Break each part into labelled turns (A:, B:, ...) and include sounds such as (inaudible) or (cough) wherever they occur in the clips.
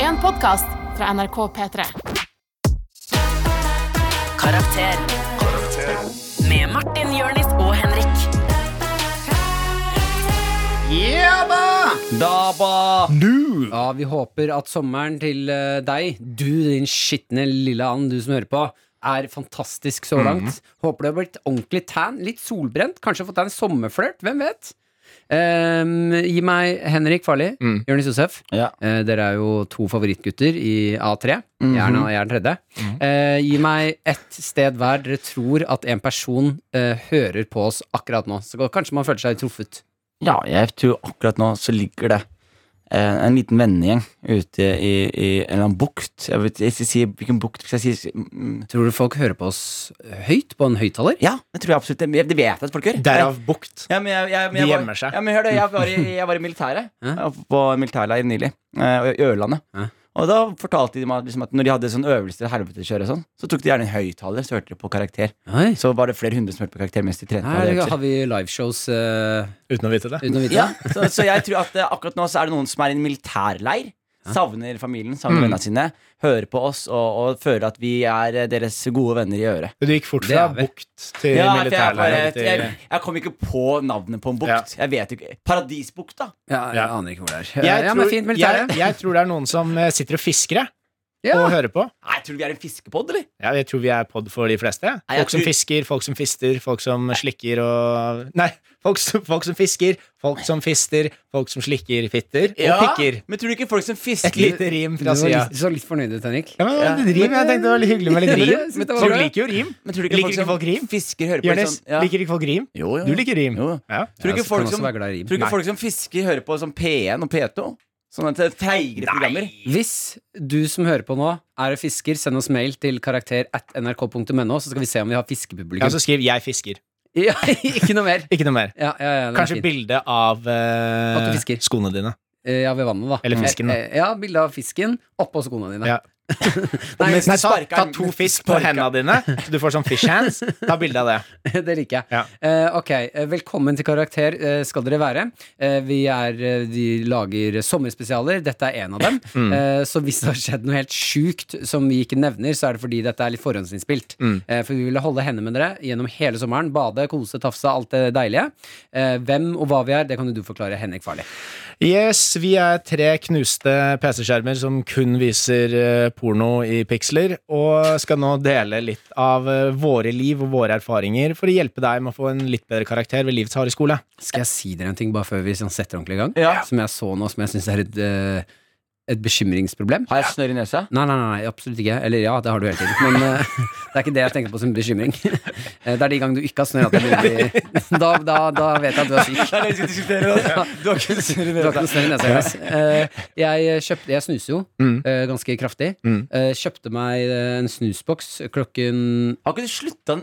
A: en podkast fra NRK P3.
B: Karakter. Med Martin, Jørnis og Henrik.
C: Ja da!
D: Daba!
C: Nu!
D: Ja, vi håper at sommeren til eh, deg, du din skitne lille and, du som hører på, er fantastisk
C: Mhm.
D: så langt. Håper du har blitt ordentlig tan, litt solbrent, kanskje fått deg en sommerflørt, hvem vet? Ehm, gi meg Henrik Farli,
C: Mm.
D: Jonis Josef.
C: Ja.
D: Eh, dere er jo to favorittgutter i A3. Jeg er den-
C: Mhm.
D: jeg er den tredje. Eh, gi meg ett sted hver dere tror at en person eh, hører på oss akkurat nå. Så kanskje man føler seg truffet.
C: Ja, jeg tror akkurat nå så ligger det eh, en liten vennegjeng ute i, i en eller annen bukt. Jeg vet jeg skal si hvilken bukt skal jeg si mm,
D: Tror du folk hører på oss høyt på en høyttaler?
C: Ja, det tror jeg absolutt. Det, det vet jeg at folk gjør.
E: Derav bukt.
C: Ja, men jeg, jeg, men
E: De
C: jeg var-
E: gjemmer seg.
C: Ja, men hør det, jeg var
E: (laughs)
C: i, jeg var i militæret.
D: Hæ?
C: Jeg var På militærleir nylig. eh, og I Ørlandet.
D: Hæ?
C: Og da fortalte de meg at liksom at når de hadde sånn øvelser og helvetekjør og sånn, så tok de gjerne en høyttaler, så hørte de på karakter.
D: Oi.
C: Så var det flere hundre som hørte på karakter mens de trente. og hadde
D: Her
C: øvelser.
D: har vi liveshows eh,
E: Uten å vite det.
D: uten å vite.
C: Ja, så, så jeg tror at eh, akkurat nå så er det noen som er i en militærleir. Savner familien, savner vennene sine. Hører på oss og, og føler at vi er eh, deres gode venner i øret.
E: Du gikk fort
D: Det
E: fra
D: er vi.
E: bukt til
C: Ja, for jeg, bare,
E: militærleir.
C: jeg,
E: til-
C: jeg kom ikke på navnet på en bukt.
E: Ja.
C: Jeg vet ikke Paradisbukta.
D: Ja, jeg
E: Ja.
D: aner ikke hvor det er.
E: Jeg
D: ja, men
E: tror-
D: fint, militæret.
E: Jeg, jeg tror det er noen som eh, sitter og fisker jeg,
D: Ja.
E: og hører på.
C: Nei, jeg tror vi er en fiskepod, eller?
E: Ja, jeg tror vi er pod for de fleste. jeg.
C: Nei, jeg
E: Folk som
C: tror-
E: fisker, folk som fister, folk som slikker og Nei, folk som, folk som fisker, folk som fister, folk som slikker fitter og pikker.
C: Men tror du ikke folk som
E: Et
C: fisker
E: lite rim
D: Du
E: fra
D: var
E: sida.
D: litt, så litt fornøyd ut, Henrik.
E: Ja, men litt rim, jeg tenkte det var litt hyggelig (laughs) med litt
D: Ja,
E: rim.
D: men det var
E: Folk
D: bra.
E: liker jo rim.
C: Men tror du ikke
E: Liker
C: folk
E: ikke
C: som
E: folk rim?
C: fisker hører på litt
E: Jonis,
C: sånn ja.
E: liker ikke folk rim?
C: Jo, jo.
E: Du liker rim.
C: Jo. Tror
E: Ja.
C: du
D: Ja,
C: ikke
D: så
C: folk
D: kan man
C: som-
D: også være glad i rim.
C: Tror du
E: Nei.
C: ikke folk som fisker hører på sånn P1 og P2? Sånne feigere programmer?
D: Hvis du som hører på nå er fisker, send oss mail til karakter at nrk.no, så skal vi se om vi har
E: Ja,
D: fiskepublikum.
E: så skriv 'jeg fisker'.
D: (laughs) Ja, ikke
C: (laughs)
D: noe mer.
E: Ikke noe mer.
D: Ja, ja, ja, den er
E: Kanskje
D: fin.
E: bilde av eh,
D: At du fisker.
E: skoene dine.
D: Eh, Ja, ved vannet, da.
E: Eller fisken, da.
D: Eh, eh, Ja, bilde av fisken oppå skoene dine.
E: Ja.
D: Nei,
C: Mens
E: (laughs) Nei,
C: du
E: ta,
C: sparker
E: ta
C: den-
E: to
C: mens du
E: fisk på
C: sparker-
E: hendene dine, så du får sånn fish hands. Ta bilde av
D: (laughs)
E: det.
D: det liker jeg.
E: Ja.
D: Eh, ok, eh, velkommen til Karakter eh, skal dere være. Eh, vi, er, eh, vi lager sommerspesialer, dette er en av dem. Eh, så hvis det har skjedd noe helt sjukt som vi ikke nevner, så er det fordi dette er litt forhåndsinnspilt. Eh, for vi ville holde henne med dere gjennom hele sommeren. Bade, kose, tafse, alt det deilige. Eh, hvem og hva vi er, det kan jo du forklare, Henrik Farli.
E: Yes, vi er tre knuste PC-skjermer som kun viser eh, porno i piksler, og skal nå dele litt av eh, våre liv og våre erfaringer for å hjelpe deg med å få en litt bedre karakter ved livets harde skole.
D: Skal jeg si dere en ting bare før vi sånn setter ordentlig i gang?
C: Ja.
D: Som jeg så nå, som jeg syns er et, eh, et bekymringsproblem.
C: Har jeg snørr i nesa?
D: Nei, nei, nei, absolutt ikke. Eller ja, det har du hele tiden. Men eh, det er ikke det jeg tenker på som bekymring. (laughs) Eh, det er de gangene du ikke har snørr. at det
E: (laughs)
D: blir- (laughs) Da, da, da vet jeg at du er syk.
C: Det er det vi skal diskutere nå. Du har ikke snørr i
D: Du har ikke noe snørr i nesa.
E: (laughs)
D: Jonas. Eh, jeg, kjøpte, jeg snuser jo
E: Mm.
D: eh, ganske kraftig.
E: Mm.
D: Eh, kjøpte meg eh, en snusboks klokken
C: Har ikke du slutta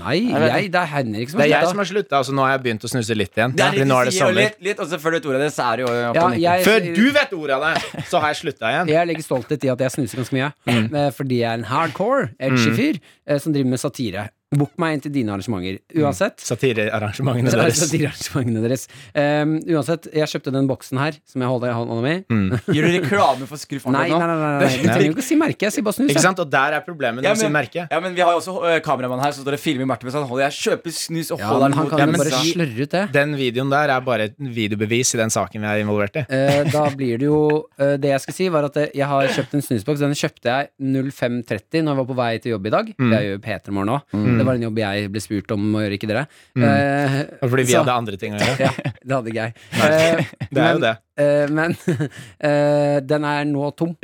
D: Nei,
C: Nei, vet
D: jeg, det er Henrik som
E: Det
D: har
E: er jeg
D: slutta.
E: som har slutta, altså nå har jeg begynt å snuse litt igjen. fordi nå er det sommer.
C: litt, litt, og så før du vet ordet av det, så er det jo opp
D: Ja,
C: og nikker.
D: jeg-
E: Før du vet ordet av det, så har jeg slutta igjen.
D: Jeg legger stolthet i at jeg snuser ganske mye,
E: Mm.
D: eh, fordi jeg er en hardcore, edgy fyr eh, som driver med satire. Book meg inn til dine arrangementer.
E: Mm.
D: Uansett,
E: Satirearrangementene
D: Det er
E: deres.
D: satirearrangementene Altså, deres. Um, uansett, jeg kjøpte den boksen her, som jeg holder i hånda mi.
E: Mm.
D: (laughs)
C: Gjør du reklame for Skruff
D: Nei, nei, nei, nei, nei. du trenger jo ikke å si merke, jeg sier bare snus.
E: Ikke
D: jeg.
E: sant? Og der er problemet
C: Ja
E: med å si
C: men,
E: merke.
C: ja, men vi har jo også ø, kameramann her som står og filmer Martin mens han holder Jeg kjøper snus og
D: Ja,
C: holder
D: men
C: den
D: han
C: mot
D: kan
E: Ja,
D: jo
E: men
D: bare
E: si-
D: slørre ut det.
E: Den videoen der er bare et videobevis i den saken vi er involvert i.
D: Eh, da blir det jo eh, Det jeg skulle si, var at eh, jeg har kjøpt en snusboks. Den kjøpte jeg 05.30 når jeg var på vei til jobb i dag.
E: Mm.
D: Jeg gjør jo P3 Morgen nå. Det var en jobb jeg ble spurt om å gjøre, ikke dere.
E: Mm.
D: Eh,
E: Og Fordi vi
D: så-
E: hadde andre ting å gjøre.
D: ja, det hadde ikke jeg. Eh,
E: Det er jo det.
D: eh, men (laughs) eh, den er nå tom.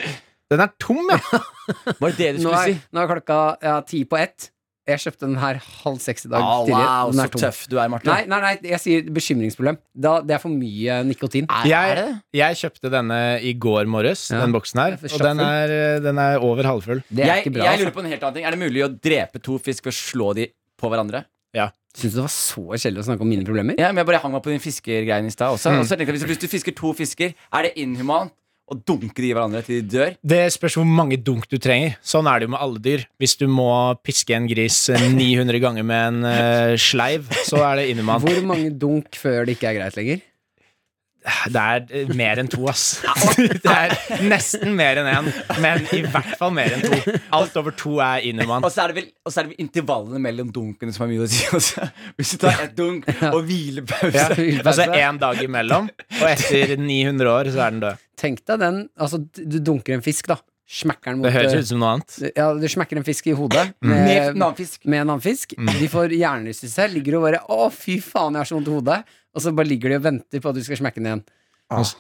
E: Den er tom, ja!
C: Var det det du
D: Nå
C: skulle
D: er,
C: si?
D: nå er klokka ja, ti på ett. Jeg kjøpte den her halv seks i dag
C: Ah,
D: tidlig.
C: wow,
D: Den
C: så
D: er tom.
C: tøff du er, Martin.
D: Nei, nei, nei, jeg sier bekymringsproblem. Da, det er for mye nikotin.
C: Er, er det
E: Jeg,
C: det?
E: jeg kjøpte denne i går morges,
D: Ja.
E: den boksen her.
D: Det er for
E: Og den er, eh, den er over halvfull.
D: Det er
C: jeg,
D: ikke bra.
C: jeg
D: altså.
C: lurer på en helt annen ting. Er det mulig å drepe to fisk ved å slå de på hverandre?
D: Syns du det var så kjedelig å snakke om mine problemer?
C: Ja, men Jeg bare hang meg på den fiskergreien i stad
D: Hmm.
C: også. Og så tenkte jeg, hvis, hvis du fisker to fisker, er det inhumant å dunke de i hverandre til de dør?
E: Det spørs hvor mange dunk du trenger. Sånn er det jo med alle dyr. Hvis du må piske en gris eh, 900 ganger med en eh, sleiv, så er det inhumant.
D: Hvor mange dunk før det ikke er greit lenger?
E: Det er eh, mer enn to, ass. (laughs) Det er nesten mer enn én, men i hvert fall mer enn to. Alt over to er inhuman.
C: Og så er det vel, og så er det vel intervallene mellom dunkene som har mye å si også. (laughs) Hvis du tar ett dunk og
E: Ja.
C: hvilepause
E: Altså én dag imellom, og etter 900 år så er den død.
D: Tenk deg den Altså, du dunker en fisk, da. Smekker den mot eh,
E: Det høres ut som noe annet.
D: Ja, du smekker en fisk i hodet
C: Mm. med
D: Eh,
C: en annen fisk. Mm.
D: med en annen fisk. De får hjernerystelse, ligger og bare 'Å, fy faen, jeg har så vondt i hodet', og så bare ligger de og venter på at du skal smekke den igjen.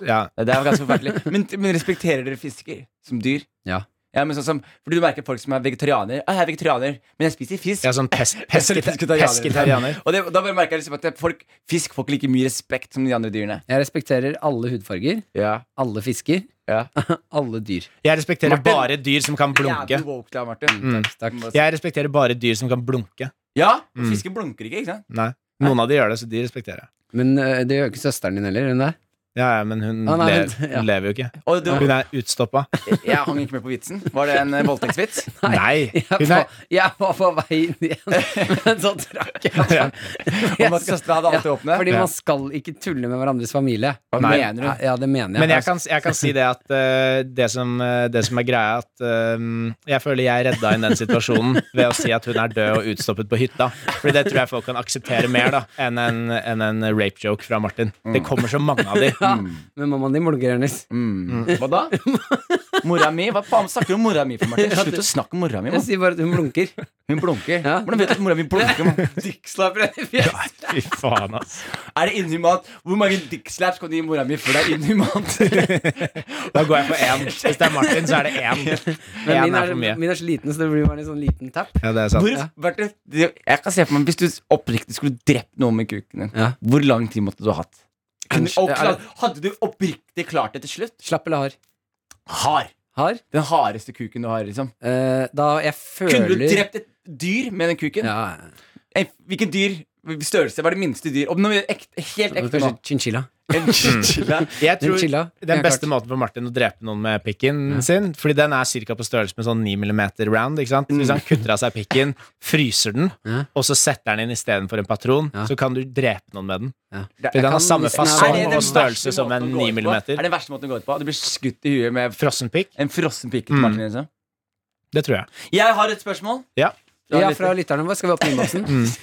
E: Ja.
C: Det er jo ganske forferdelig. (laughs) Men, men respekterer dere fisker som dyr?
D: Ja.
C: Ja, men sånn som, fordi du merker folk som er vegetarianer. Ah, 'Jeg er vegetarianer, men jeg spiser fisk.'
E: Ja, sånn pes pesketa-
C: Pesketarianer.
E: pesketarianer.
C: Og det, da bare merker jeg liksom at det- folk, fisk får ikke like mye respekt som de andre dyrene.
D: Jeg respekterer alle hudfarger,
C: Ja,
D: alle fisker,
C: ja
D: alle dyr.
E: Jeg respekterer
C: Martin.
E: bare dyr som kan blunke. Mm,
C: Jævlig woke da, Martin. Mm.
D: Takk.
E: Jeg respekterer bare dyr som kan blunke.
C: Ja, og fisken blunker ikke, ikke sant?
E: Nei. Noen av de gjør det, så de respekterer jeg.
D: Men øh, det gjør ikke søsteren din heller, gjør hun det? (laughs)
E: Ja, ja, men hun,
D: Ah, nei,
E: le
D: men- ja.
E: hun lever jo ikke.
C: Og det,
E: (laughs) Hun er utstoppa.
C: (laughs) jeg hang ikke med på vitsen. Var det en eh, voldtektsvits?
E: Nei!
D: Jeg
E: Hun
D: var,
E: er,
D: jeg var på vei inn igjen, (laughs) men så trakk jeg (laughs) meg.
C: Om at søstera hadde alltid åpne?
D: Fordi man skal ikke tulle med hverandres familie.
C: Hva
E: Nei.
C: mener du?
D: Ja, altså. det mener jeg.
E: men jeg kan, jeg kan si det at eh, det, som, eh, det som er greia, at eh, jeg føler jeg redda inn den situasjonen ved å si at hun er død og utstoppet på hytta. Fordi det tror jeg folk kan akseptere mer da enn en, enn en rape joke fra Martin.
D: Mm.
E: Det kommer så mange
D: (laughs)
E: av de.
D: Men mammaen din blunker, Ernest.
C: Mm. Hva da? Mora mi? Hva faen snakker du om mora mi for, Martin? Slutt å snakke om mora mi,
D: Jeg
C: mann.
D: sier bare at hun blunker.
E: (laughs)
C: Hun blunker.
D: Ja.
C: Hvordan vet du at mora mi blunker, (laughs) mann?
D: Dickslapper i fjeset.
E: Nei, Fy faen, ass.
C: Er det inhumant? Hvor mange dickslaps kan du gi mora mi før det er inhumant? (laughs)
E: Da går jeg på én. Hvis det er Martin, så er det én.
D: Men
E: Én
D: min
E: er
D: er,
E: for mye.
D: min er så liten, så det blir bare en sånn liten tap.
E: Ja, det er sant.
C: Hvor, Bertil, det, jeg kan se for meg Hvis du oppriktig skulle drept noen med kuken din,
D: Ja.
C: hvor lang tid måtte du ha hatt? Kunne,
D: Kanskje-
C: og, klar- hadde du oppriktig klart det til slutt?
D: Slapp eller hard?
C: Hard.
D: Hard?
C: Den hardeste kuken du har. liksom
D: Eh, da jeg føler
C: Kunne du drept et dyr med den kuken?
D: Ja,
C: Eh, Hvilken dyr? Størrelse? Hva er det minste dyr? Og nå er vi ekte, helt ekte
D: kanskje
C: nå.
D: chinchilla.
C: En chinchilla.
E: Jeg
D: Den
E: tror
D: chilla.
E: den
D: Ja,
E: beste
D: klart.
E: måten for Martin å drepe noen med pikken sin Fordi den er cirka på størrelse med sånn 9 mm round. Ikke sant? Hvis han
C: Mm.
E: kutter av seg pikken, fryser den,
D: Ja.
E: og så setter den inn istedenfor en patron,
D: Ja.
E: så kan du drepe noen med den.
D: Ja.
E: Fordi den har samme
C: Er det
E: fasong
C: den
E: og
C: verste
E: størrelse som
C: måten
E: en
C: å gå
E: 9
C: ut på? Er
E: mm.
C: det den verste måten å gå ut på? Du blir skutt i huet med fr-
E: Frossen pikk?
C: en frossen pike.
E: Mm.
C: til Martin, liksom.
E: Det tror jeg.
C: Jeg har et spørsmål.
E: Ja.
D: Ja, fra lytterne våre. Skal vi åpne innboksen?
E: Mm.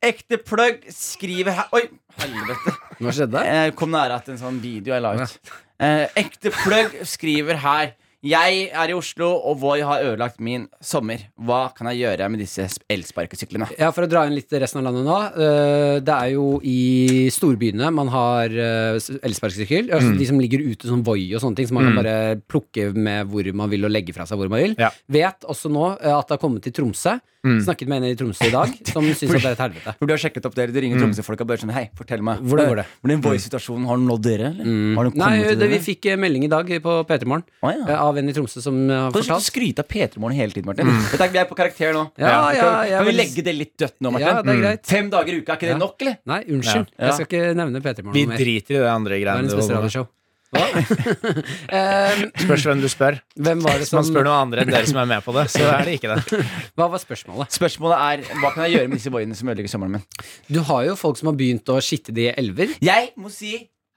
C: Ekte plugg skriver her Oi, helvete.
D: (laughs) Hva skjedde?
C: Eh, kom nære at en sånn video jeg la ut. Eh, ekte plugg skriver her. Jeg er i Oslo, og Voi har ødelagt min sommer. Hva kan jeg gjøre med disse sp- elsparkesyklene?
D: Ja, For å dra inn litt resten av landet nå. eh, Det er jo i storbyene man har eh, s- elsparkesykkel. Altså
C: Mm.
D: De som ligger ute som Voi og sånne ting, som man kan bare plukke med hvor man vil og legge fra seg hvor man vil.
E: Ja.
D: Vet også nå eh, at det har kommet til Tromsø.
C: Mm.
D: Snakket med en i Tromsø i
C: (laughs)
D: dag som syns at det er et helvete.
C: For Du har sjekket opp dere, du ringer Tromsø-folka og bare sånn Hei, fortell meg.
D: Mm. Hvordan går det? Mm.
C: Hvordan Voi-situasjonen har den nådd dere? Eller? Har den
D: Nei,
C: kommet til
D: det, vi
C: dere?
D: fikk eh, melding i dag på P3 Morgen
C: Å, ja.
D: eh, av en i Tromsø som eh, har
C: Kan du slutte å
D: fortalt. Mm.
C: skryte av P3morgen hele tiden, Martin? Vet du, vi er på karakter nå.
D: Ja, ja,
C: kan,
D: jeg
C: kan vi
D: vil-
C: legge det litt dødt nå, Martin?
D: Ja, det er greit.
C: Fem dager i uka, er ikke det
D: Ja.
C: nok, eller?
D: Nei, unnskyld.
C: Ja.
D: Jeg skal ikke nevne P3
E: Vi
D: Morgen noe mer.
E: driter i det andre
D: Det er
E: greiene.
D: en
E: du holder på med.
D: spesialshow. Hva? Eh,
E: Spørs hvem du
C: (laughs)
E: spør.
D: Hvem var det
E: Hvis
C: sånn-
E: man
D: som
E: spør noen andre enn dere som er med på det, så er det ikke det.
C: (laughs)
D: Hva var spørsmålet?
C: Spørsmålet er hva kan jeg gjøre med disse voiene som ødelegger sommeren min?
D: Du har jo folk som har begynt å skitte det i elver.
C: Jeg må si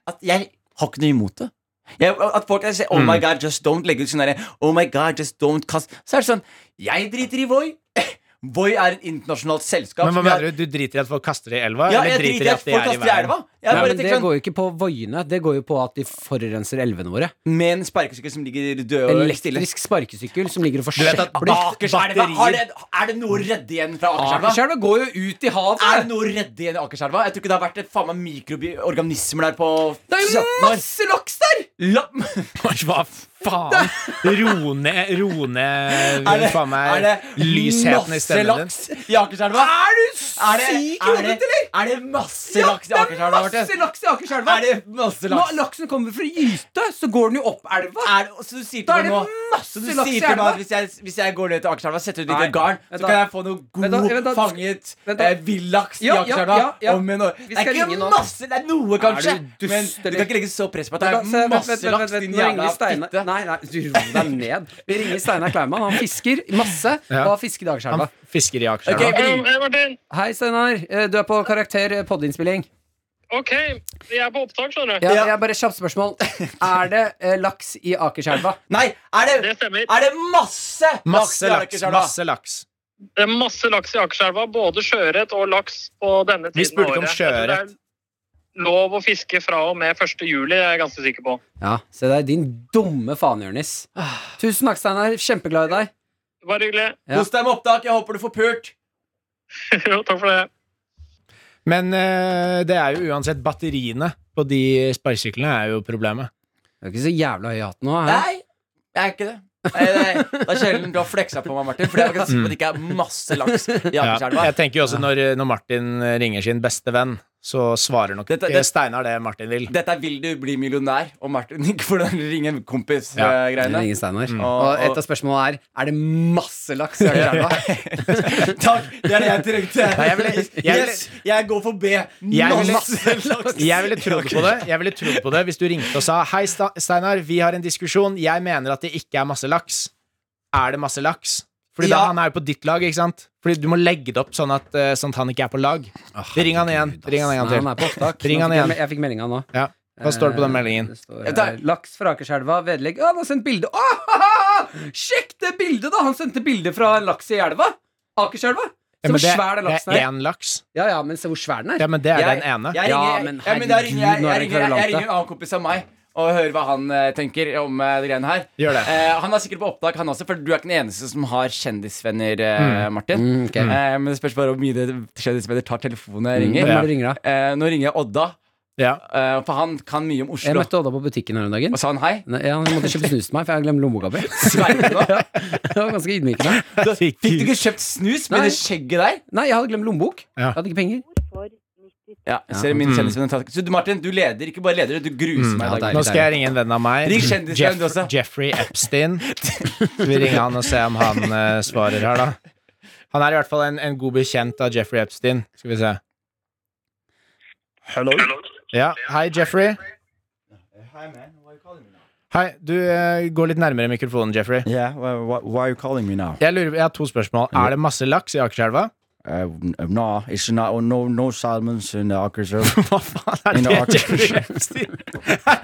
C: at jeg har ikke noe imot det. Jeg, at folk sier 'Oh
D: Mm.
C: my God, just don't' legge ut sånn derre 'Oh my God, just don't' kast Så er det sånn Jeg driter i Voi. (laughs) Voi er et internasjonalt selskap.
E: Men hva
C: som jeg-
E: mener du? Du driter i at folk kaster det i elva?
C: Ja,
E: eller
C: jeg driter i at folk kaster i elva. Jeg
D: Nei,
C: bare
D: men
C: tenker
D: det
C: sånn,
D: går jo ikke på voiene, det går jo på at de forurenser elvene våre.
C: Med en sparkesykkel som ligger død og stille.
D: Elektrisk sparkesykkel som ligger og
E: vet at
D: forsøpler.
C: Akerselva! har det- Er det noe å redde igjen fra Akerselva?
D: Akerselva går jo ut i
C: Er det
D: havet!
C: noe å redde igjen i Akerselva? Jeg tror ikke det har vært et faen meg mikroorganismer der på
D: Det er jo
C: 17
D: (laughs)
C: år.
D: masse laks der!
C: La
E: Hva faen?
C: (laughs)
E: Ro ned, ro ned
C: er det,
E: faen
C: er
E: meg,
C: det
E: lysheten i
C: masse
E: stemmen din.
C: laks i Akerselva?
D: Er du
C: Er det,
D: syk i
C: er,
D: hodet,
C: det,
D: eller?
C: er det masse
D: Ja,
C: laks i Akerselva?
D: det er masse
C: Martin?
D: laks i Akerselva!
C: Er det masse
D: Når
C: laks?
D: laksen kommer fra gyte, så går den jo opp elva.
C: Er, det- så du sier til
D: Da er
C: meg
D: det
C: nå
D: masse
C: så du
D: laks i
C: sier til meg
D: elva.
C: at hvis jeg, hvis jeg går ned til Akerselva og setter ut
D: Nei.
C: litt garn, så
D: Vent da.
C: kan jeg få noe
D: Vent da,
C: god
D: vent da.
C: fanget
D: Vent da.
C: eh, villaks i
D: Ja, ja,
C: Akerselva?
D: ja, ja.
C: om en år.
D: Vi
C: Det er
D: skal ringe
C: ikke
D: nå.
C: masse, det er noe, kanskje.
D: du dust,
C: men du
D: eller?
C: kan ikke legge så press på at
D: Da-
C: det er
D: se, vent, vent,
C: masse
D: vent,
C: laks,
D: vent,
C: din
D: nå ringer
C: jævla
D: vi Steinar-
C: fitte.
D: Nei, nei, du ro deg ned. Vi ringer Steinar Kleiman. Han fisker masse
E: Ja.
D: og har fisket i
E: Han
D: Akerselva.
E: fisker i Akerselva.
C: Ok, vi ringer.
F: Hei, Martin.
D: Hei, Steinar. Eh, Du er på Karakter eh, poddeinnspilling.
F: OK, vi er på opptak, skjønner du.
D: Ja,
C: Ja.
D: jeg har bare et kjapt spørsmål. Er det eh, laks i Akerselva?
C: Nei, er det,
F: Det stemmer.
C: er det masse laks
E: Masse
C: i
E: laks.
C: Akerselva?
E: Masse laks.
F: Det er masse laks i Akerselva. Både sjøørret og laks på denne tiden
E: Vi spurte
F: av
E: ikke om
F: året. Jeg tror det er
E: sjøørret.
F: Lov å fiske fra og med 1. juli, det er jeg ganske sikker på.
D: Ja, Se der, din dumme faen, Jonis. Tusen takk, Steinar. Kjempeglad i deg.
F: Bare hyggelig. (laughs)
D: Ja.
C: Kos deg med opptak. Jeg håper du får pult.
F: jo, takk for det.
E: Men eh, det er jo uansett batteriene på de sparkesyklene er jo problemet.
D: Du er ikke så jævla høy i hatten nå. Hæ?
C: Nei, jeg er ikke det. Nei, nei, det er sjelden du har fleksa på meg, Martin. For jeg kan si at det ikke er masse laks i
E: Ja.
C: Akerselva.
E: Jeg tenker jo også når, eh, når Martin ringer sin beste venn, så svarer nok
C: Dette-
E: ikke
C: det-
E: Steinar det Martin vil.
C: Dette er 'Vil du bli millionær?' og Martin ikke får den ringe en eh,
E: Ja.
D: Det
C: kompis-greiene.
D: er ingen Steinar.
C: Mm.
D: Og et av spørsmålene er Er det masse laks i
E: (laughs)
D: Akerselva.
C: (laughs) Takk, det er det jeg trengte.
E: Nei, jeg ville- jeg ville-
C: yes, jeg går for B.
E: Jeg ville-
C: Masse laks.
E: Jeg ville trodd på det Jeg ville trodd på det hvis du ringte og sa Hei, Sta- Steinar, vi har en diskusjon. Jeg mener at det ikke er masse laks. Er det masse laks? Fordi da
C: Ja.
E: han er jo på ditt lag, ikke sant? Fordi du må legge det opp sånn at, eh, sånn at han ikke er på lag. Ring han igjen. Ring han
D: Nei, han
E: igjen
D: er på
E: til.
D: opptak.
E: Ring han
D: Nå fikk jeg
E: igjen.
D: me- Jeg fikk meldinga nå.
E: Ja. Hva står det på den meldingen?
D: Eh, Det står
C: Jeg tar-
D: her, Laks fra Akerselva, vedlegg Å, han har sendt bilde! Åh, Sjekk det bildet, da! Han sendte bilde fra en laks i elva. Akerselva. Se
E: Ja, men
D: hvor
E: det,
D: svær den
E: det
D: laksen
E: er
D: er.
E: én laks.
D: Ja, ja, men se hvor svær den er.
E: Ja, men det er
C: Jeg-
E: den ene.
C: Jeg ringer,
D: Ja,
C: ja,
D: men
C: men da ringer jeg, jeg,
D: herregud, nå er det
C: ringer, jeg,
D: kverulante.
C: ringer en annen kompis av meg og hører hva han eh, tenker om eh, de greiene her.
E: Gjør det.
C: Eh, han er sikkert på opptak, han også, for du er ikke den eneste som har kjendisvenner, eh, Martin.
D: Mm, ok.
C: Eh, men det spørs bare hvor mye det- kjendisvenner tar telefonen når jeg
D: Hvem
C: ringer.
D: er
E: Mm, Ja.
D: det du ringer, da?
C: Eh, nå ringer jeg Odda,
E: Ja.
C: eh, for han kan mye om
D: Jeg
C: Oslo.
D: møtte Odda på butikken her om dagen.
C: Og sa han hei?
D: Nei, ja, Han måtte kjøpe snus til meg, for jeg har glemt lommeboka
E: (laughs)
D: mi.
C: Sverger du nå?
D: Det var ganske ydmykende.
C: Fikk du ikke kjøpt snus med
D: Nei.
C: det skjegget der?
D: Nei, jeg hadde glemt lommebok.
E: Ja.
D: Jeg hadde ikke penger.
C: Ja, jeg ser min kjendisvenn tar- Så du, Martin, du leder, ikke bare leder, du
E: Mm,
C: gruser meg i
D: ja,
C: dag.
E: Nå skal jeg ringe en venn av meg.
C: Ring kjendisvenn du også. (laughs)
E: Jeffrey Epstein. Skal vi ringe han og se om han eh, svarer her, da? Han er i hvert fall en, en god bekjent av Jeffrey Epstein. Skal vi se. Ja, hei, Jeffrey.
G: Hi, man. Why are you calling me now?
E: Hei, du eh, går litt nærmere mikrofonen, Jeffrey.
G: Yeah, why, why, why are you calling me now?
E: Jeg, lurer, jeg har to spørsmål. Er det masse laks i Akerselva?
G: Uh, n- uh, no, it's not. oh, No, no salmons in the Akerselva.
E: (laughs) Hva faen er
G: In the
E: det,
G: Akerselva.
E: Jeffrey Epstein? (laughs)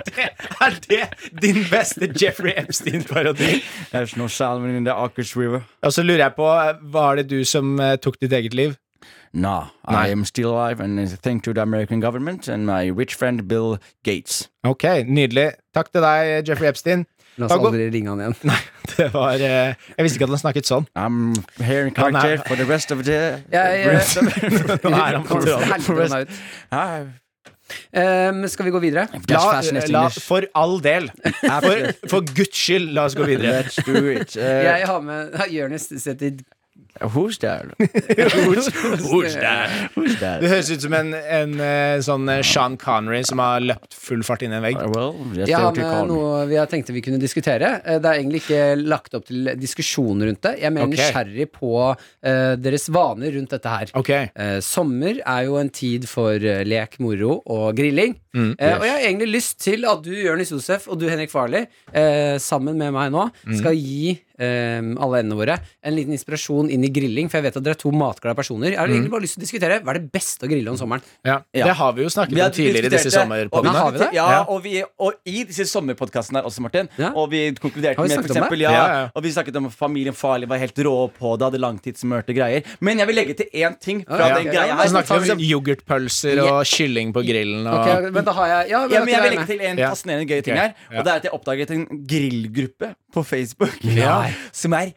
E: Er det, er det din beste Jeffrey Epstein-parodi?
G: There's no salmon in the Akers River.
E: Og så lurer jeg på, eh, var det du som eh, tok ditt eget liv?
G: No, I am still alive, and it's a thank to the American government and my rich friend Bill Gates.
E: Ok, nydelig. Takk til deg, Jeffrey Epstein. (laughs)
D: La
E: Da
D: oss
E: går-
D: aldri ringe han igjen.
E: Nei, det var eh, Jeg visste ikke at han snakket sånn.
G: I'm here in
E: Oh, no.
G: Carter for the rest of the.
D: Jeg,
E: eh, (laughs)
G: rest of-
E: Nå er han på tråden.
D: Helvete, den er ut.
G: Ah,
D: Ehm, skal vi gå videre?
G: That's
E: La, eh,
G: fascinating.
E: la, for all del. For,
G: Absolutely.
E: for guds skyld, la oss gå videre.
G: Let's do
C: (laughs)
G: it. Uh,
D: Jeg har med (laughs) Jonis setter
G: who's there?
E: (laughs)
G: Who's
E: Det
C: (laughs)
G: there?
E: høres ut som en, en eh, sånn eh, Sean Connery som har løpt full fart inn i en vegg.
G: Uh, well, that's
D: Jeg har
G: what you
C: eh,
G: call
D: med
G: me.
D: noe vi har tenkt vi kunne diskutere. Eh, Det er egentlig ikke lagt opp til diskusjon rundt det. Jeg er mer
E: Ok.
D: nysgjerrig på eh, deres vaner rundt dette her.
E: Ok,
D: Eh, sommer er jo en tid for eh, lek, moro og grilling.
E: Mm.
D: Eh, og jeg har egentlig lyst til at du, Jonis Josef, og du, Henrik Farley, eh, sammen med meg nå, skal gi eh, alle endene våre en liten inspirasjon inn i grilling. For jeg vet at dere er to matglade personer. Jeg har egentlig bare lyst til å diskutere hva er det beste å grille om sommeren.
E: ja.
C: Ja.
E: Det har vi jo snakket om tidligere i disse
D: Nå
E: sommerpodene.
D: har vi det.
C: Ja,
E: Ja.
C: og, vi, og i disse sommerpodkastene her også, Martin.
D: Ja.
C: Og vi konkluderte
D: Har vi
C: med
D: snakket
C: for
D: om
C: eksempel,
E: det?
C: ja,
E: Ja, ja.
C: Og vi snakket om at familien Farlig var helt rå på det, hadde langtidsmørte greier. Men jeg vil legge til én ting fra
D: Ja, ja.
C: den greia
E: Så
C: her.
E: snakket vi
C: Som-
E: om yoghurtpølser og kylling på grillen og
D: Ok, men da har jeg Ja, men
C: ja, men jeg
D: dere er
C: vil legge
D: med.
C: til en
E: Ja.
C: fascinerende gøy ting
E: Ok,
C: her.
E: ja.
C: Og det er at jeg oppdaget en grillgruppe på Facebook
E: Ja.
C: som er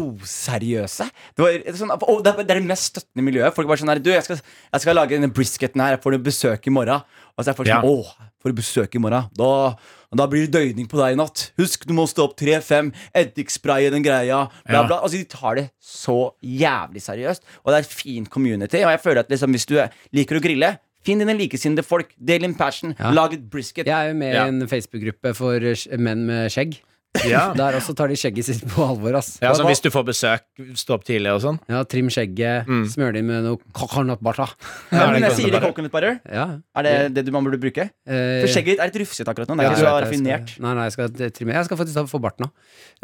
C: blodseriøse. Det, var et sånn, og det, er, det er det mest støttende miljøet. Folk er bare sånn her Du, jeg skal, jeg skal lage denne brisketen her. Jeg får du besøk i morgen. Og så er folk
E: Ja.
C: sånn Å, får du besøk i morgen? Da, da blir det døgning på deg i natt. Husk, du må stå opp 3-5. Eddikspraye den greia. Bla,
E: Ja.
C: bla. Altså, de tar det så jævlig seriøst. Og det er et fint community. Og jeg føler at liksom, hvis du liker å grille Finn dine likesinnede folk, del inn passion,
D: Ja.
C: lag et brisket.
D: Jeg er jo med
E: Ja.
D: i en Facebook-gruppe for eh, menn med skjegg.
E: (laughs) Ja.
D: Der også tar de skjegget sitt på alvor, ass.
E: Ja, sånn hvis du Mm. får besøk, stå opp tidlig og sånn.
D: Ja, trim skjegget, smør det med noe coconut butter.
C: Ja,
E: Ja, det
C: men
E: er
C: jeg sier det
E: bare-
C: coconut butter.
D: Ja.
C: Er det det du, man burde bruke?
D: eh,
C: For skjegget ditt er litt rufsete akkurat nå. Det
D: ja,
C: er
D: jeg
C: ikke så
D: vet det, jeg
C: raffinert.
D: skal- Nei, nei, jeg skal trimme Jeg skal faktisk ta- få bart nå.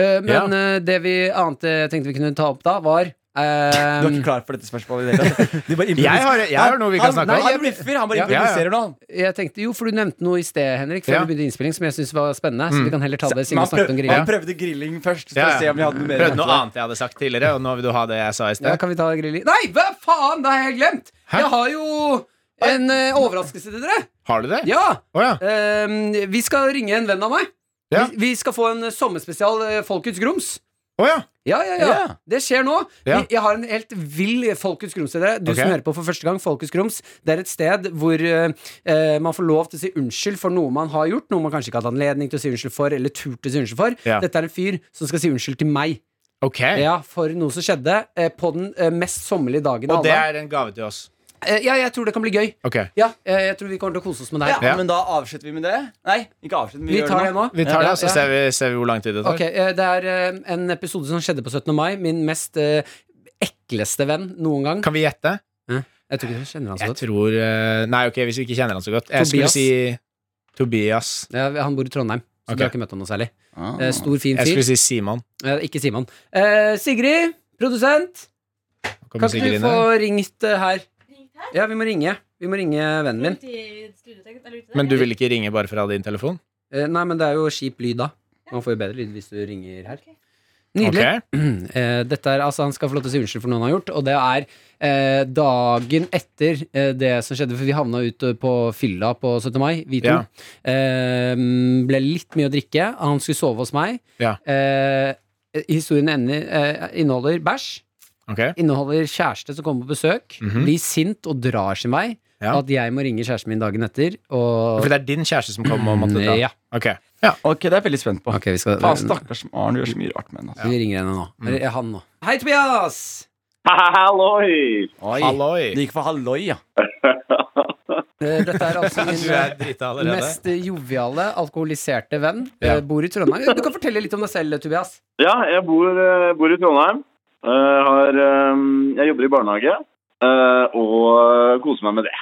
D: Eh, men
E: Ja.
D: eh, det vi annet eh, jeg tenkte vi kunne ta opp da, var
C: Du er
D: Eh,
C: ikke klar for dette spørsmålet? i det hele tatt. Du bare
E: Jeg har, jeg har noe vi kan
C: han,
E: snakke
C: nei,
E: om.
C: han bluffer, han bare
D: Ja.
C: improviserer nå.
D: jeg tenkte, jo, for du nevnte noe i sted, Henrik, før
E: Ja. Mm.
D: vi begynte innspilling, som jeg syntes var spennende. Så vi kan heller ta det
C: Men
D: siden vi
C: han,
D: snakket om
C: prøv,
D: grilla.
C: han prøvde grilling først. For
E: Ja,
C: å se om vi hadde noe mer
E: Prøvde noe annet jeg hadde sagt tidligere, og nå vil du ha det jeg sa i
D: Ja,
E: sted.
D: kan vi ta grilling? Nei, hva faen, det har jeg glemt!
E: Hæ?
D: Jeg har jo en eh, overraskelse til dere.
E: Har du det?
D: Ja!
E: Å ja.
D: Ehm, vi skal ringe en venn av meg.
E: Ja.
D: Vi, vi skal få en eh, sommerspesial eh, Folkets grums.
E: Å ja.
D: Ja, ja, ja.
C: Ja.
D: Det skjer nå.
E: Ja.
D: Vi, jeg har en helt vill Folkets Grums til dere. Du
E: Ok.
D: som hører på for første gang, Folkets Grums, det er et sted hvor eh, eh, man får lov til å si unnskyld for noe man har gjort, noe man kanskje ikke har hatt anledning til å si unnskyld for, eller turt å si unnskyld for.
E: Ja.
D: Dette er en fyr som skal si unnskyld til meg.
E: Ok.
D: Ja, for noe som skjedde eh, på den eh, mest sommerlige dagen
E: Og
D: av
E: det
D: alle.
E: er en gave til oss.
D: Eh, ja, jeg tror det kan bli gøy.
E: Ok.
D: Ja, eh, jeg tror vi kommer til å kose oss med det
C: Ja,
D: her.
E: Ja.
C: Men da avslutter vi med det? Nei, ikke avslutter, men vi,
D: Vi
C: gjør
D: tar det nå.
E: Vi tar det,
D: Ja,
E: og så
D: ja.
E: ser vi, ser vi hvor lang tid det tar.
D: Ok, eh, det er eh, en episode som skjedde på 17. mai. Min mest eh, ekleste venn noen gang.
E: Kan vi gjette?
D: Jeg tror ikke jeg kjenner han så
E: Jeg
D: godt.
E: tror eh, Nei, ok, hvis vi ikke kjenner han så godt. Jeg skulle
D: Tobias.
E: si Tobias.
D: Ja, han bor i Trondheim, så
E: Ok. Ah,
D: du har ikke møtt han noe særlig.
C: det nå.
D: Eh, stor, fin
E: Jeg
D: fyr.
E: skulle si Simon.
D: Eh, ikke Simon. Eh, Sigrid, produsent, kan
E: Kommer
D: ikke
E: sikkert
D: du
E: inn
D: få
E: her.
D: ringt eh, her? Ja, vi må ringe. Vi må ringe vennen min.
E: Men du vil ikke ringe bare fra din telefon?
D: Eh, nei, men det er jo skip lyd da. Man får jo bedre lyd hvis du ringer her.
E: Ok.
D: Nydelig. Eh, dette er, altså, han skal få lov til å si unnskyld for noe han har gjort, og det er eh, dagen etter eh, det som skjedde, for vi havna ut eh, på fylla på 17. mai, vi to.
E: Ja.
D: Eh, ble litt mye å drikke. Han skulle sove hos meg.
E: Ja.
D: Eh, historien ender, eh, inneholder bæsj.
E: Ok.
D: Inneholder kjæreste som kommer på besøk.
E: Mhm.
D: Blir sint og drar sin vei.
E: Ja.
D: At jeg må ringe kjæresten min dagen etter. Og
E: For det er din kjæreste som kom og måtte ta?
D: Ja.
E: Ok.
C: Ok, det er jeg veldig spent på.
D: Ok, vi skal
C: Faen, stakkars Arn gjør så mye rart med henne. altså.
D: Vi ringer henne nå. Eller eh, han nå. Hei, Tobias!
H: Halloi!
C: Altså. Oi.
E: Halloi!
C: Det gikk for halloi, ja.
D: Eh, Dette er
E: (laughs)
D: altså min
E: Du er drita allerede.
D: Mest joviale, alkoholiserte venn. eh, Bor i Trondheim. Du kan fortelle litt om deg selv, Tobias.
H: Ja, jeg bor, eh, bor i Trondheim. Eh, har, eh, jeg jobber i barnehage eh, og koser meg med det.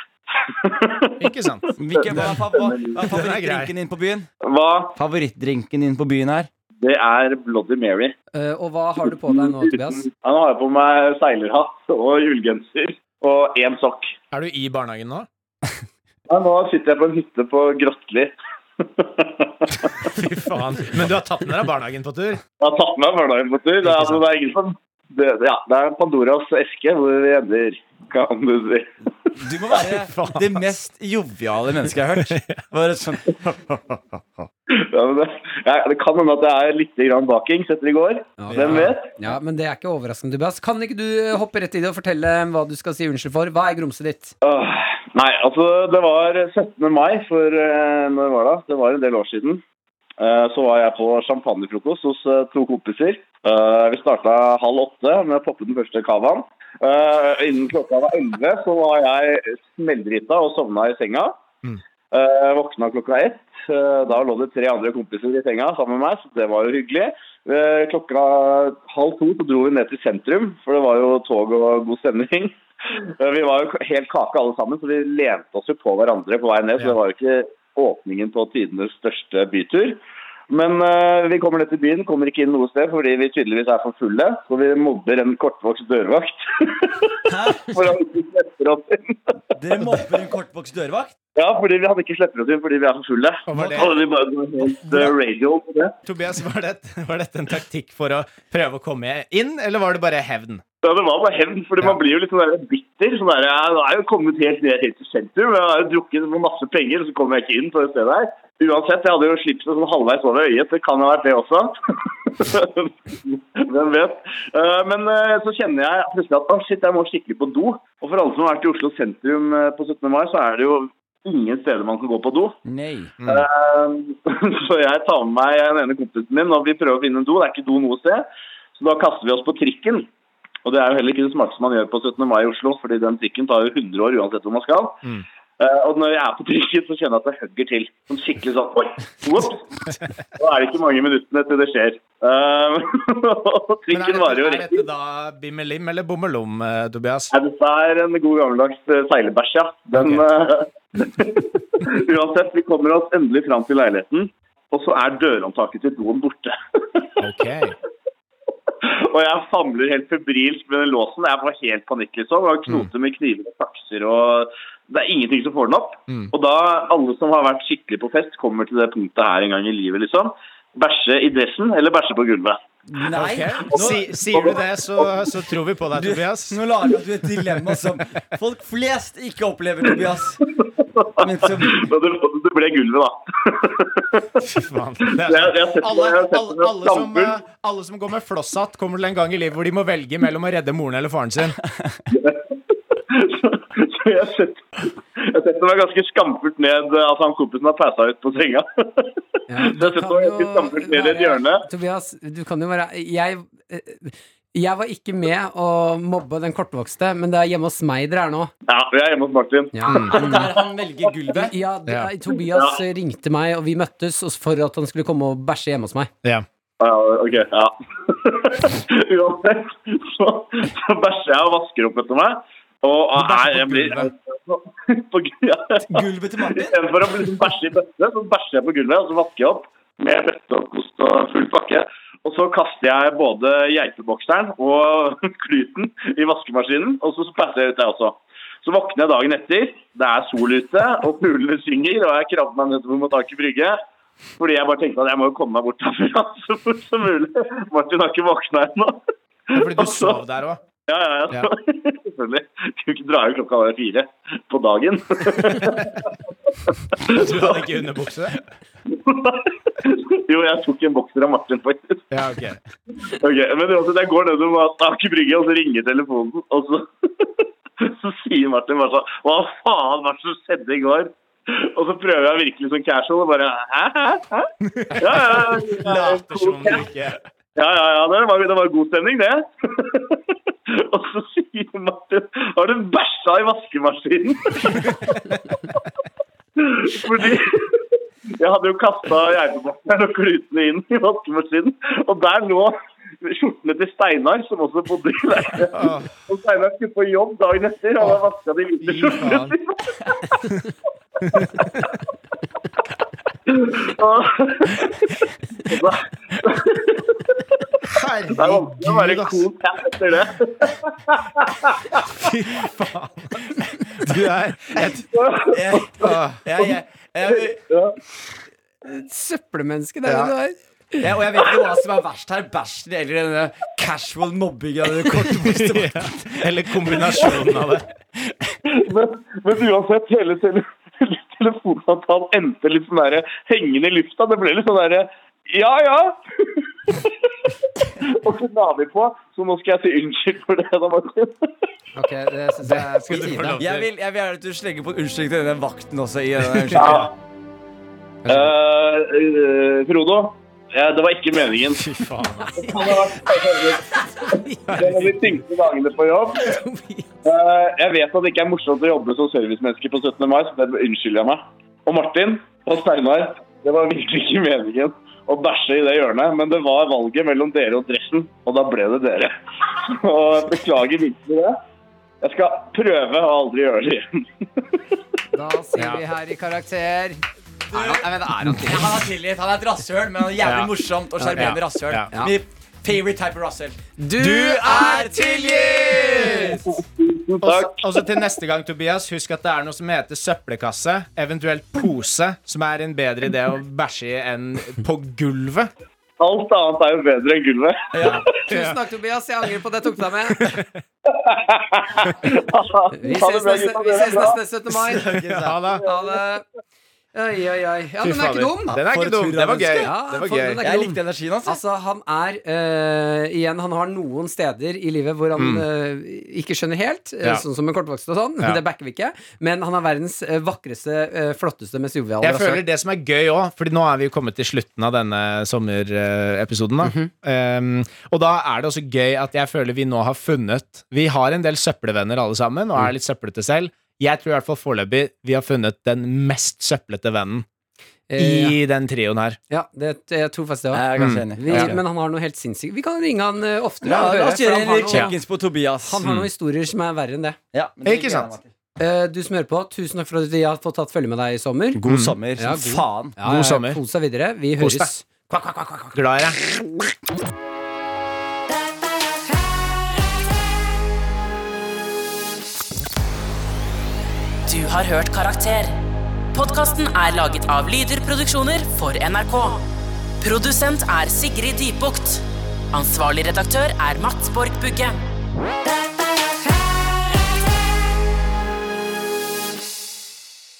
E: Ikke sant?
C: Hvilken hva er fa- hva- hva er
E: Den er grei.
C: favorittdrinken din på byen?
H: Hva?
C: Favorittdrinken din på byen her?
H: Det er Bloody Mary.
D: Eh, Og hva har du på deg
H: Mm.
D: nå, Tobias?
H: Ja, nå har jeg på meg seilerhatt og ullgenser og én sokk.
E: Er du i barnehagen nå?
H: Ja, nå sitter jeg på en hytte på Grotli.
E: Fy faen. Men du har tatt med deg barnehagen på tur?
H: Jeg har tatt med meg hverdagen på tur. Det, er- altså, det er ingen som det, ja, det er Pandoras eske hvor vi ender, kan du si.
C: Du må (laughs) være det mest joviale mennesket jeg har hørt. Bare sånn
H: Ja, men det, ja, det kan hende at det er litt grann bakings etter i går. Hvem vet?
D: Ja, Men det er ikke overraskende, Tobias. Kan ikke du eh, hoppe rett i det og fortelle hva du skal si unnskyld for? Hva er grumset ditt?
H: Åh, nei, altså det var 17. mai for eh, når var det? Det var en del år siden. Eh, så var jeg på champagnefrokost hos eh, to kompiser. Eh, vi starta halv åtte med å poppe den første cavaen. Eh, innen klokka var elleve så var jeg smelldrita og sovna i senga.
E: Mm.
H: Eh, våkna klokka ett. Eh, da lå det tre andre kompiser i senga sammen med meg, så det var jo hyggelig. Eh, klokka halv to så dro vi ned til sentrum, for det var jo tog og god stemning. (laughs) Eh, Vi var jo k- helt kake alle sammen, så vi lente oss jo på hverandre på vei ned. Så
E: Ja.
H: det var jo ikke åpningen på tidenes største bytur. Men eh, vi kommer ned til byen, kommer ikke inn noe sted fordi vi tydeligvis er for fulle. Så vi mobber en kortvokst dørvakt. (laughs) For han ikke slipper oss inn.
C: Dere mobber en kortvokst dørvakt?
H: Ja, fordi vi hadde ikke slipper oss inn fordi vi er for fulle.
E: Og var det-
H: Og vi bare går helt eh, radio på det.
E: Tobias, var, det, var dette en taktikk for å prøve å komme inn, eller var det bare hevn?
H: Ja, det var bare hevn, fordi man blir jo litt sånn der bitter. Sånn der, jeg er jo kommet helt ned helt til sentrum, jeg har jo drukket med masse penger, så kommer jeg ikke inn på det stedet her. Uansett, jeg hadde jo slipset sånn halvveis over øyet, det kan ha vært det også. (laughs) Hvem vet. Eh, Men eh, så kjenner jeg plutselig at «Å, shit, jeg må skikkelig på do. Og for alle som har vært i Oslo sentrum eh, på 17. mai, så er det jo ingen steder man kan gå på do.
C: Nei.
H: Um, (laughs) Så jeg tar med meg den ene kompisen min, og vi prøver å finne en do. Det er ikke do noe sted. Så da kaster vi oss på trikken. Og det er jo heller ikke det smarteste man gjør på 17. mai i Oslo, fordi den trikken tar jo 100 år uansett hvor man skal.
E: Mm.
H: Eh, og når jeg er på trikken, så kjenner jeg at det hugger til. Som skikkelig sånn Oi!
E: (laughs)
H: Whoops! Da er det ikke mange minuttene til det skjer. Um, (laughs) og
E: Men er
H: trikken
E: dette,
H: varer jo
E: er
H: rett
E: dette
H: inn.
E: da bimmelim eller bommelom, eh,
H: (laughs)
E: Tobias?
H: Nei, Dette er en god gammeldags eh, seilebæsj, ja. Den, eh, (laughs) uansett, vi kommer oss endelig fram til leiligheten, og så er dørhåndtaket til doen borte.
E: Ok.
H: (laughs) og jeg famler helt febrilsk med den låsen. Jeg får helt panikk, liksom. Og knoter med kniver og sakser og Det er ingenting som får den opp.
E: Mm.
H: Og da alle som har vært skikkelig på fest, kommer til det punktet her en gang i livet, liksom. Bæsje i dressen eller bæsje på gulvet. (laughs)
C: Nei!
E: Si, sier du det, så, så tror vi på deg,
C: Du,
E: Tobias.
C: nå lager du et dilemma som folk flest ikke opplever, Tobias. Men som
H: Og det, det ble gulvet, da. (laughs)
E: Faen. (laughs) Det er
H: Jeg,
E: sånn.
H: jeg har sett
E: Alle,
H: jeg har sett
E: alle,
H: det med
E: alle, som,
H: skamfull.
E: eh, alle som går med flosshatt, kommer til en gang i livet hvor de må velge mellom å redde moren eller faren sin.
H: Så jeg har sett, jeg har sett det var ganske skamfullt ned eh, at han kompisen har passa ut på senga. (laughs)
D: Ja,
H: Så jeg har sett det var ganske skamfullt ned i et hjørne.
D: Tobias, du kan jo være Jeg, eh, jeg var ikke med å mobbe den kortvokste, men det er hjemme hos meg dere er nå.
H: Ja, vi er hjemme hos Martin.
D: Ja.
C: der han velger gulvet.
D: Mm. Ja, det, eh,
E: Ja.
D: Tobias ringte meg, og vi møttes og- for at han skulle komme og bæsje hjemme hos meg.
E: (laughs) Ja.
H: Ja, ok, ja. (laughs) Uansett, så, så bæsjer jeg og vasker opp etter meg. Og
E: bæsjer
H: er,
E: på
H: jeg blir
E: gulvet.
H: (laughs) på gulvet. Ja.
C: Gulvet til Martin.
H: Istedenfor å liksom bæsje i bøtte, så bæsjer jeg på gulvet, og så vasker jeg opp med bøtte og kost og full pakke. Og så kaster jeg både geitebokseren og (laughs) kluten i vaskemaskinen, og så bæsjer jeg ut det også. Så våkner jeg dagen etter, det er sol ute, og fuglene synger, og jeg krabber meg nedover mot Aker Brygge. Fordi jeg bare tenkte at jeg må jo komme meg bort herfra (laughs) så fort som mulig. Martin har ikke våkna ennå.
E: Fordi du sov der òg.
H: Ja, ja, ja.
E: Ja.
H: (laughs) Selvfølgelig. Kunne ikke dra ut klokka var fire på dagen.
E: Du hadde (laughs) ikke underbukse?
H: jo, jeg tok en bokser av Martin, faktisk.
E: Ja, ok.
H: Ok, men uansett, jeg går nedover Aker Brygge, og så ringer telefonen, og så, (laughs) så sier Martin bare sånn Hva faen var det som skjedde i går? Og så prøver jeg virkelig sånn casual og bare Hæ, hæ, hæ? Ja, ja, ja.
E: (laughs) Later som om du ikke
H: Ja, ja, ja, det var, det (laughs) var god stemning, det. og så sier Martin Har du bæsja i vaskemaskinen? (laughs) Fordi jeg hadde jo kasta geitebakken og klutene inn i vaskemaskinen, og der lå skjortene til Steinar, som også bodde i leiligheten. Og Steinar skulle på jobb dagen etter, og hadde vaska de hvite
E: Fy
H: skjortene
E: (laughs) faen.
H: sine. (laughs) Og- og da- Det er vanskelig å være
E: Herregud, ass.
H: cool cat etter det. (laughs)
E: Fy faen. Du er et
C: Jeg,
E: Åh.
C: jeg, jeg, jeg,
D: Søppelmenneske, det er
E: Ja.
D: det du er.
C: jeg, og jeg vet ikke hva som er verst her. Bæsjen eller denne casual mobbinga.
E: Ja. Eller kombinasjonen av det.
H: Men, men uansett, hele tele (laughs) telefonsamtalen endte litt sånn der hengende i lufta. Det ble litt sånn derre ja, ja. (laughs) og så la vi på, så nå skal jeg si unnskyld for det, da, Martin.
D: Ok, det syns jeg er på
E: du få
D: tide.
E: lov til.
C: Jeg vil, jeg vil gjerne at du slenger på en unnskyldning til den vakten også. I denne
H: Ja.
C: unnskyldningen.
H: Eh, eh, Frodo, eh, det var ikke meningen.
E: (laughs) Fy
H: (laughs)
E: faen, ass.
H: Det var de tyngste dagene på jobb. Eh, jeg vet at det ikke er morsomt å jobbe som servicemenneske på 17. mai, så derfor unnskylder jeg meg. Og Martin og Steinar, det var virkelig ikke meningen å bæsje i det hjørnet, men det var valget mellom dere og dressen, og da ble det dere. (laughs) Og jeg beklager virkelig det. Jeg skal prøve å aldri gjøre det igjen.
D: Da sier vi her i karakter
C: Han har tilgitt. Han er et rasshøl, men han er jævlig
E: Ja.
C: morsomt og sjarmerende
E: Ja.
C: rasshøl.
E: Ja.
C: Min favorite type av rasshøl.
D: Du
C: tilgitt!
E: Og så- og så til neste gang, Tobias, husk at det er noe som heter søppelkasse, eventuelt pose, som er en bedre idé å bæsje i enn på gulvet.
H: Alt annet er jo bedre enn gulvet.
D: Tusen takk, Tobias. Jeg angrer på det jeg tok (laughs) deg med.
H: Ha det
D: Vi
H: bra,
D: ses neste,
H: gutta.
D: vi
H: Dere er
D: ses
H: bra.
D: neste 17. mai.
E: Ja da.
D: Ha det. Oi, oi, oi. Ja, den er ikke dum.
E: Den er
C: For
E: ikke
C: et
E: dum. Det var gøy.
D: Ja,
E: Det
D: for- den
E: var gøy.
D: er ikke
C: Jeg
D: dum.
C: likte energien hans.
D: Altså, han er eh, Igjen, han har noen steder i livet hvor han eh, ikke skjønner helt, eh,
E: Mm. Ja.
D: sånn som en kortvokst og sånn,
E: Ja.
D: (laughs) det backer vi ikke, men han er verdens eh, vakreste, eh, flotteste, mest joviale
E: Jeg
D: rasshøl.
E: føler det som er gøy òg, Fordi nå er vi jo kommet til slutten av denne sommerepisoden. Da.
D: Mhm.
E: um, og da er det også gøy at jeg føler vi nå har funnet Vi har en del søppelvenner alle sammen, og
D: Mm.
E: er litt søplete selv. Jeg tror i hvert fall foreløpig vi har funnet den mest søplete vennen
D: Eh,
E: i den trioen her.
D: ja, det, jeg tror faktisk det
C: Jeg
D: òg.
C: er ganske enig.
D: Mm. Vi, Men han har noe helt sinnssykt Vi kan ringe han eh, oftere.
C: La
D: og høre,
C: oss
D: for
C: gjøre
D: han
C: en
D: har
C: liten
D: noe-
C: check-ins på Tobias.
D: Han har noen historier som er verre enn det.
C: Ja, men det
E: Ikke
C: liker jeg,
E: sant?
C: Martin.
D: Eh, du som hører på, tusen takk for at vi har fått tatt følge med deg i sommer.
C: God sommer.
D: Ja,
C: som
D: god.
C: Faen.
D: Ja, ja, ja,
E: sommer.
D: Kos deg videre. Vi
E: Kos
D: høres.
E: Glad i deg.
B: har hørt Karakter. Podkasten er laget av Lyder Produksjoner for NRK. Produsent er Sigrid Dybukt. Ansvarlig redaktør er Mats Borg Bugge.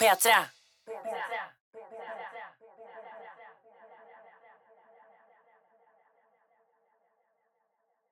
B: P3.